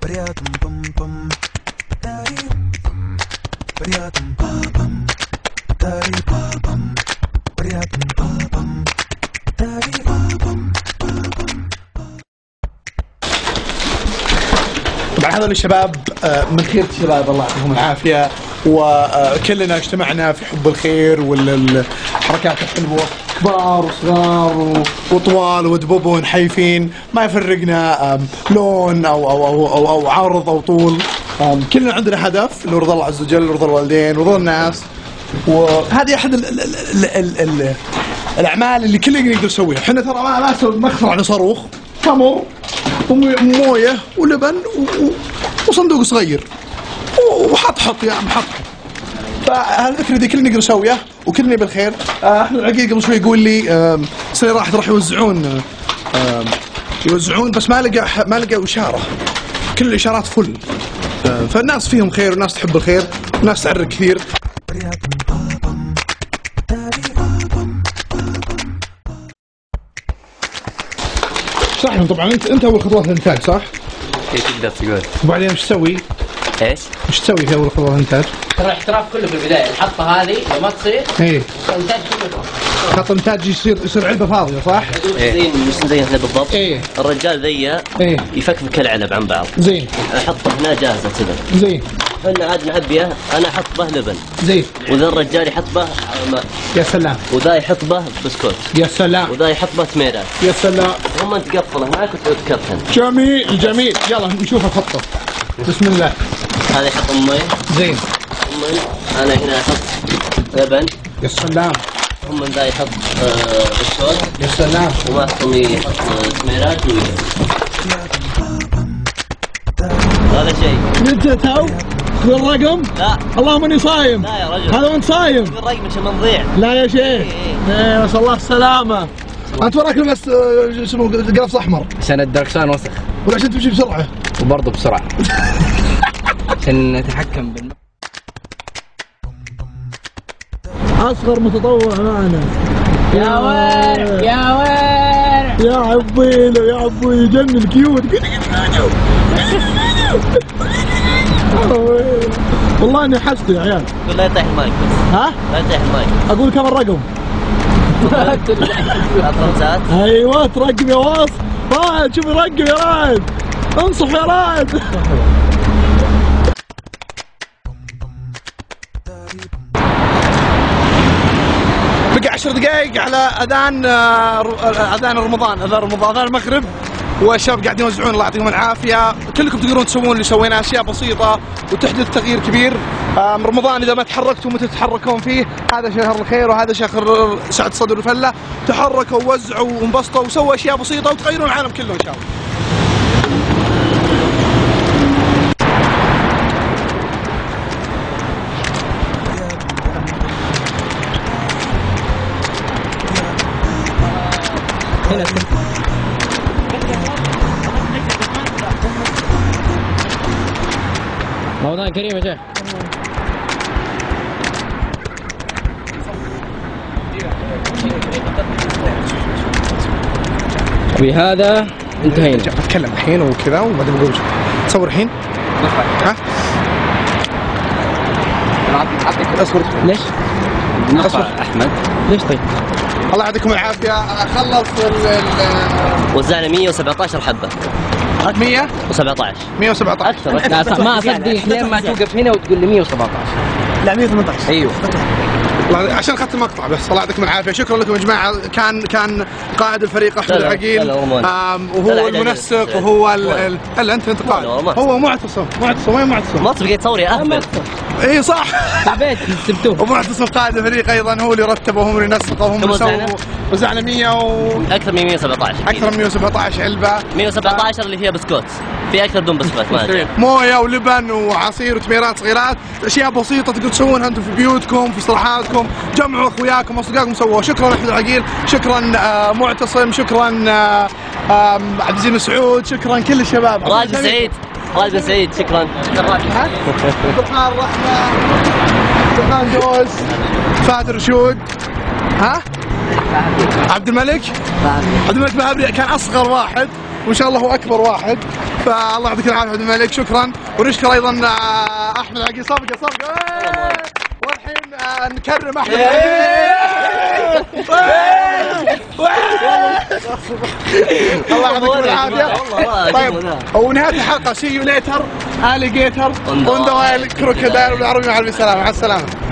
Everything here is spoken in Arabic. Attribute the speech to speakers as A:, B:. A: Приятным пам-пам. Патари пам. Приятным папам. Патари папам. Приятным папам. Патари папам.
B: طبعا هذول الشباب آه، من خيرة الشباب الله يعطيهم العافية وكلنا اجتمعنا في حب الخير والحركات الحلوة كبار وصغار و- وطوال ودبوبون حيفين ما يفرقنا آم، لون أو أو أو أو, أو عرض أو طول آم، كلنا عندنا هدف اللي هو رضا الله عز وجل ورضا الوالدين ورضا الناس وهذه أحد ال ال ال ال ال الأعمال اللي كلنا نقدر نسويها احنا ترى ما ما نسوي- ما نخترع صاروخ تمر ومويه ولبن و... و- وصندوق صغير و- وحط حط يا عم حط حط. فهالفكره دي كلنا نقدر نسويها وكلنا بالخير آه، احمد العقيل قبل شوي يقول لي آم، السنه راحت راح يوزعون آم، يوزعون بس ما لقى ح- ما لقى اشاره كل الاشارات فل آه، فالناس فيهم خير والناس تحب الخير والناس تعرق كثير
A: Приятным папам. Патари папам.
B: صح طبعا انت انت اول خطوات الانتاج صح؟
C: إيه تقدر تقول
B: وبعدين ايش تسوي؟
C: ايش؟
B: ايش تسوي في اول خطوات الانتاج؟
C: ترى الاحتراف كله في البدايه الحطه هذه لو ما تصير
B: ايه
C: الانتاج كله
B: خط انتاج يصير يصير علبه فاضيه صح؟
D: زين مش زين احنا بالضبط
B: ايه
D: الرجال ذي
B: ايه
D: يفكفك العنب عن بعض
B: زين
D: احطه هنا جاهزه كذا
B: زين
D: فانا عاد نعبيه انا احط به لبن
B: زين
D: وذا الرجال يحط به ماء
B: يا سلام
D: وذا يحط به بسكوت
B: يا سلام
D: وذا يحط به تميرات
B: يا سلام
D: هم تقفله معك وتعود تكرتن
B: جميل جميل يلا نشوف الخطه بسم الله
D: هذا يحط امي
B: زين
D: امي انا هنا احط لبن
B: يا سلام
D: هم ذا يحط آه، بسكوت
B: يا سلام
D: وما امي يحط آه، تميرات ويجي.
A: Приятным папам.
D: هذا شيء
E: انت تو تقول رقم
D: لا
E: اللهم اني صايم
D: لا يا رجل
E: هذا وانت صايم
D: تقول رقم عشان ما نضيع
E: لا يا شيخ ايه نسال الله السلامه
B: انت وراك لبس آه، شنو قفص احمر
C: عشان الدركسان وسخ
B: ولا عشان تمشي بسرعه
C: وبرضه بسرعه عشان نتحكم بال
E: اصغر متطوع معنا يا ويل
C: يا ويل
E: يا عبيله يا عبي يجنن كيوت والله اني حشت يا عيال
D: يقول لا يطيح المايك بس
E: ها
D: لا يطيح المايك
E: اقول كم الرقم
D: اطرمسات
E: ايوه ترقم يا واص رائد شوف رقم يا رائد انصح يا رائد
B: بقى عشر دقائق على اذان آه، ر- آه، اذان رمضان اذان رمضان اذان المغرب والشباب قاعدين يوزعون الله يعطيهم العافيه كلكم تقدرون تسوون اللي سويناه اشياء بسيطه وتحدث تغيير كبير آم، رمضان اذا ما تحركتم متى تتحركون فيه هذا شهر الخير وهذا شهر سعد صدر الفله تحركوا ووزعوا وانبسطوا وسووا اشياء بسيطه وتغيرون العالم كله ان شاء الله
C: رمضان كريم يا شيخ بهذا انتهينا
B: بتكلم الحين وكذا وبعدين بقول تصور الحين ها اصبر
C: ليش؟
B: أصبر.
C: نقطع احمد ليش طيب؟
B: الله يعطيكم العافيه خلص ال ال-
D: وزعنا 117 حبه
B: 100
D: و17
B: 117
C: لا أص- ما اصدق لين ما توقف هنا وتقول لي 117
B: لا 118
C: ايوه
B: الله- عشان اخذت المقطع بس الله يعطيكم العافيه شكرا لكم يا جماعه كان كان قائد الفريق احمد
D: لا لا، لا
B: العقيل
D: لا، هو ما-
B: آم،
D: لا
B: وهو
D: لا، لا، لا،
B: المنسق
D: لا.
B: وهو ال-
D: لا.
B: ال- الا انت انت قائد
D: لا، هو معتصم.
B: هو معتصم معتصم وين معتصم؟
D: ما تبقى تصور يا احمد
B: اي صح
C: تعبت سبتوه
B: ومعتصم قائد الفريق ايضا هو اللي رتبه هم اللي نسقه هم
D: كم
B: اللي
D: وزعنا؟
B: سووا وزعنا 100 و
D: اكثر من 117
B: اكثر من 117 علبه
D: 117 اللي فيها بسكوت في اكثر بدون بسكوت ما ادري
B: مويه ولبن وعصير وتميرات صغيرات اشياء بسيطه تقدروا تسوونها انتم في بيوتكم في استراحاتكم جمعوا اخوياكم واصدقائكم سووها شكرا احمد العقيل شكرا آه، معتصم شكرا آه، آم، عبد العزيز مسعود شكرا كل الشباب
D: راشد بن سعيد راشد بن سعيد شكرا
B: ها؟ سبحان الرحمه سبحان جوز فهد رشود ها عبد الملك عبد الملك بهبري كان اصغر واحد وان شاء الله هو اكبر واحد فالله يعطيك العافيه عبد الملك شكرا ونشكر ايضا آه، احمد العقيل صفقه صفقه إيه! والحين آه، نكرم احمد العقيل. الله يعطيكم العافيه طيب ونهايه الحلقه سي يو ليتر اليجيتر اون ذا وايل كروكودايل بالعربي مع السلامه مع السلامه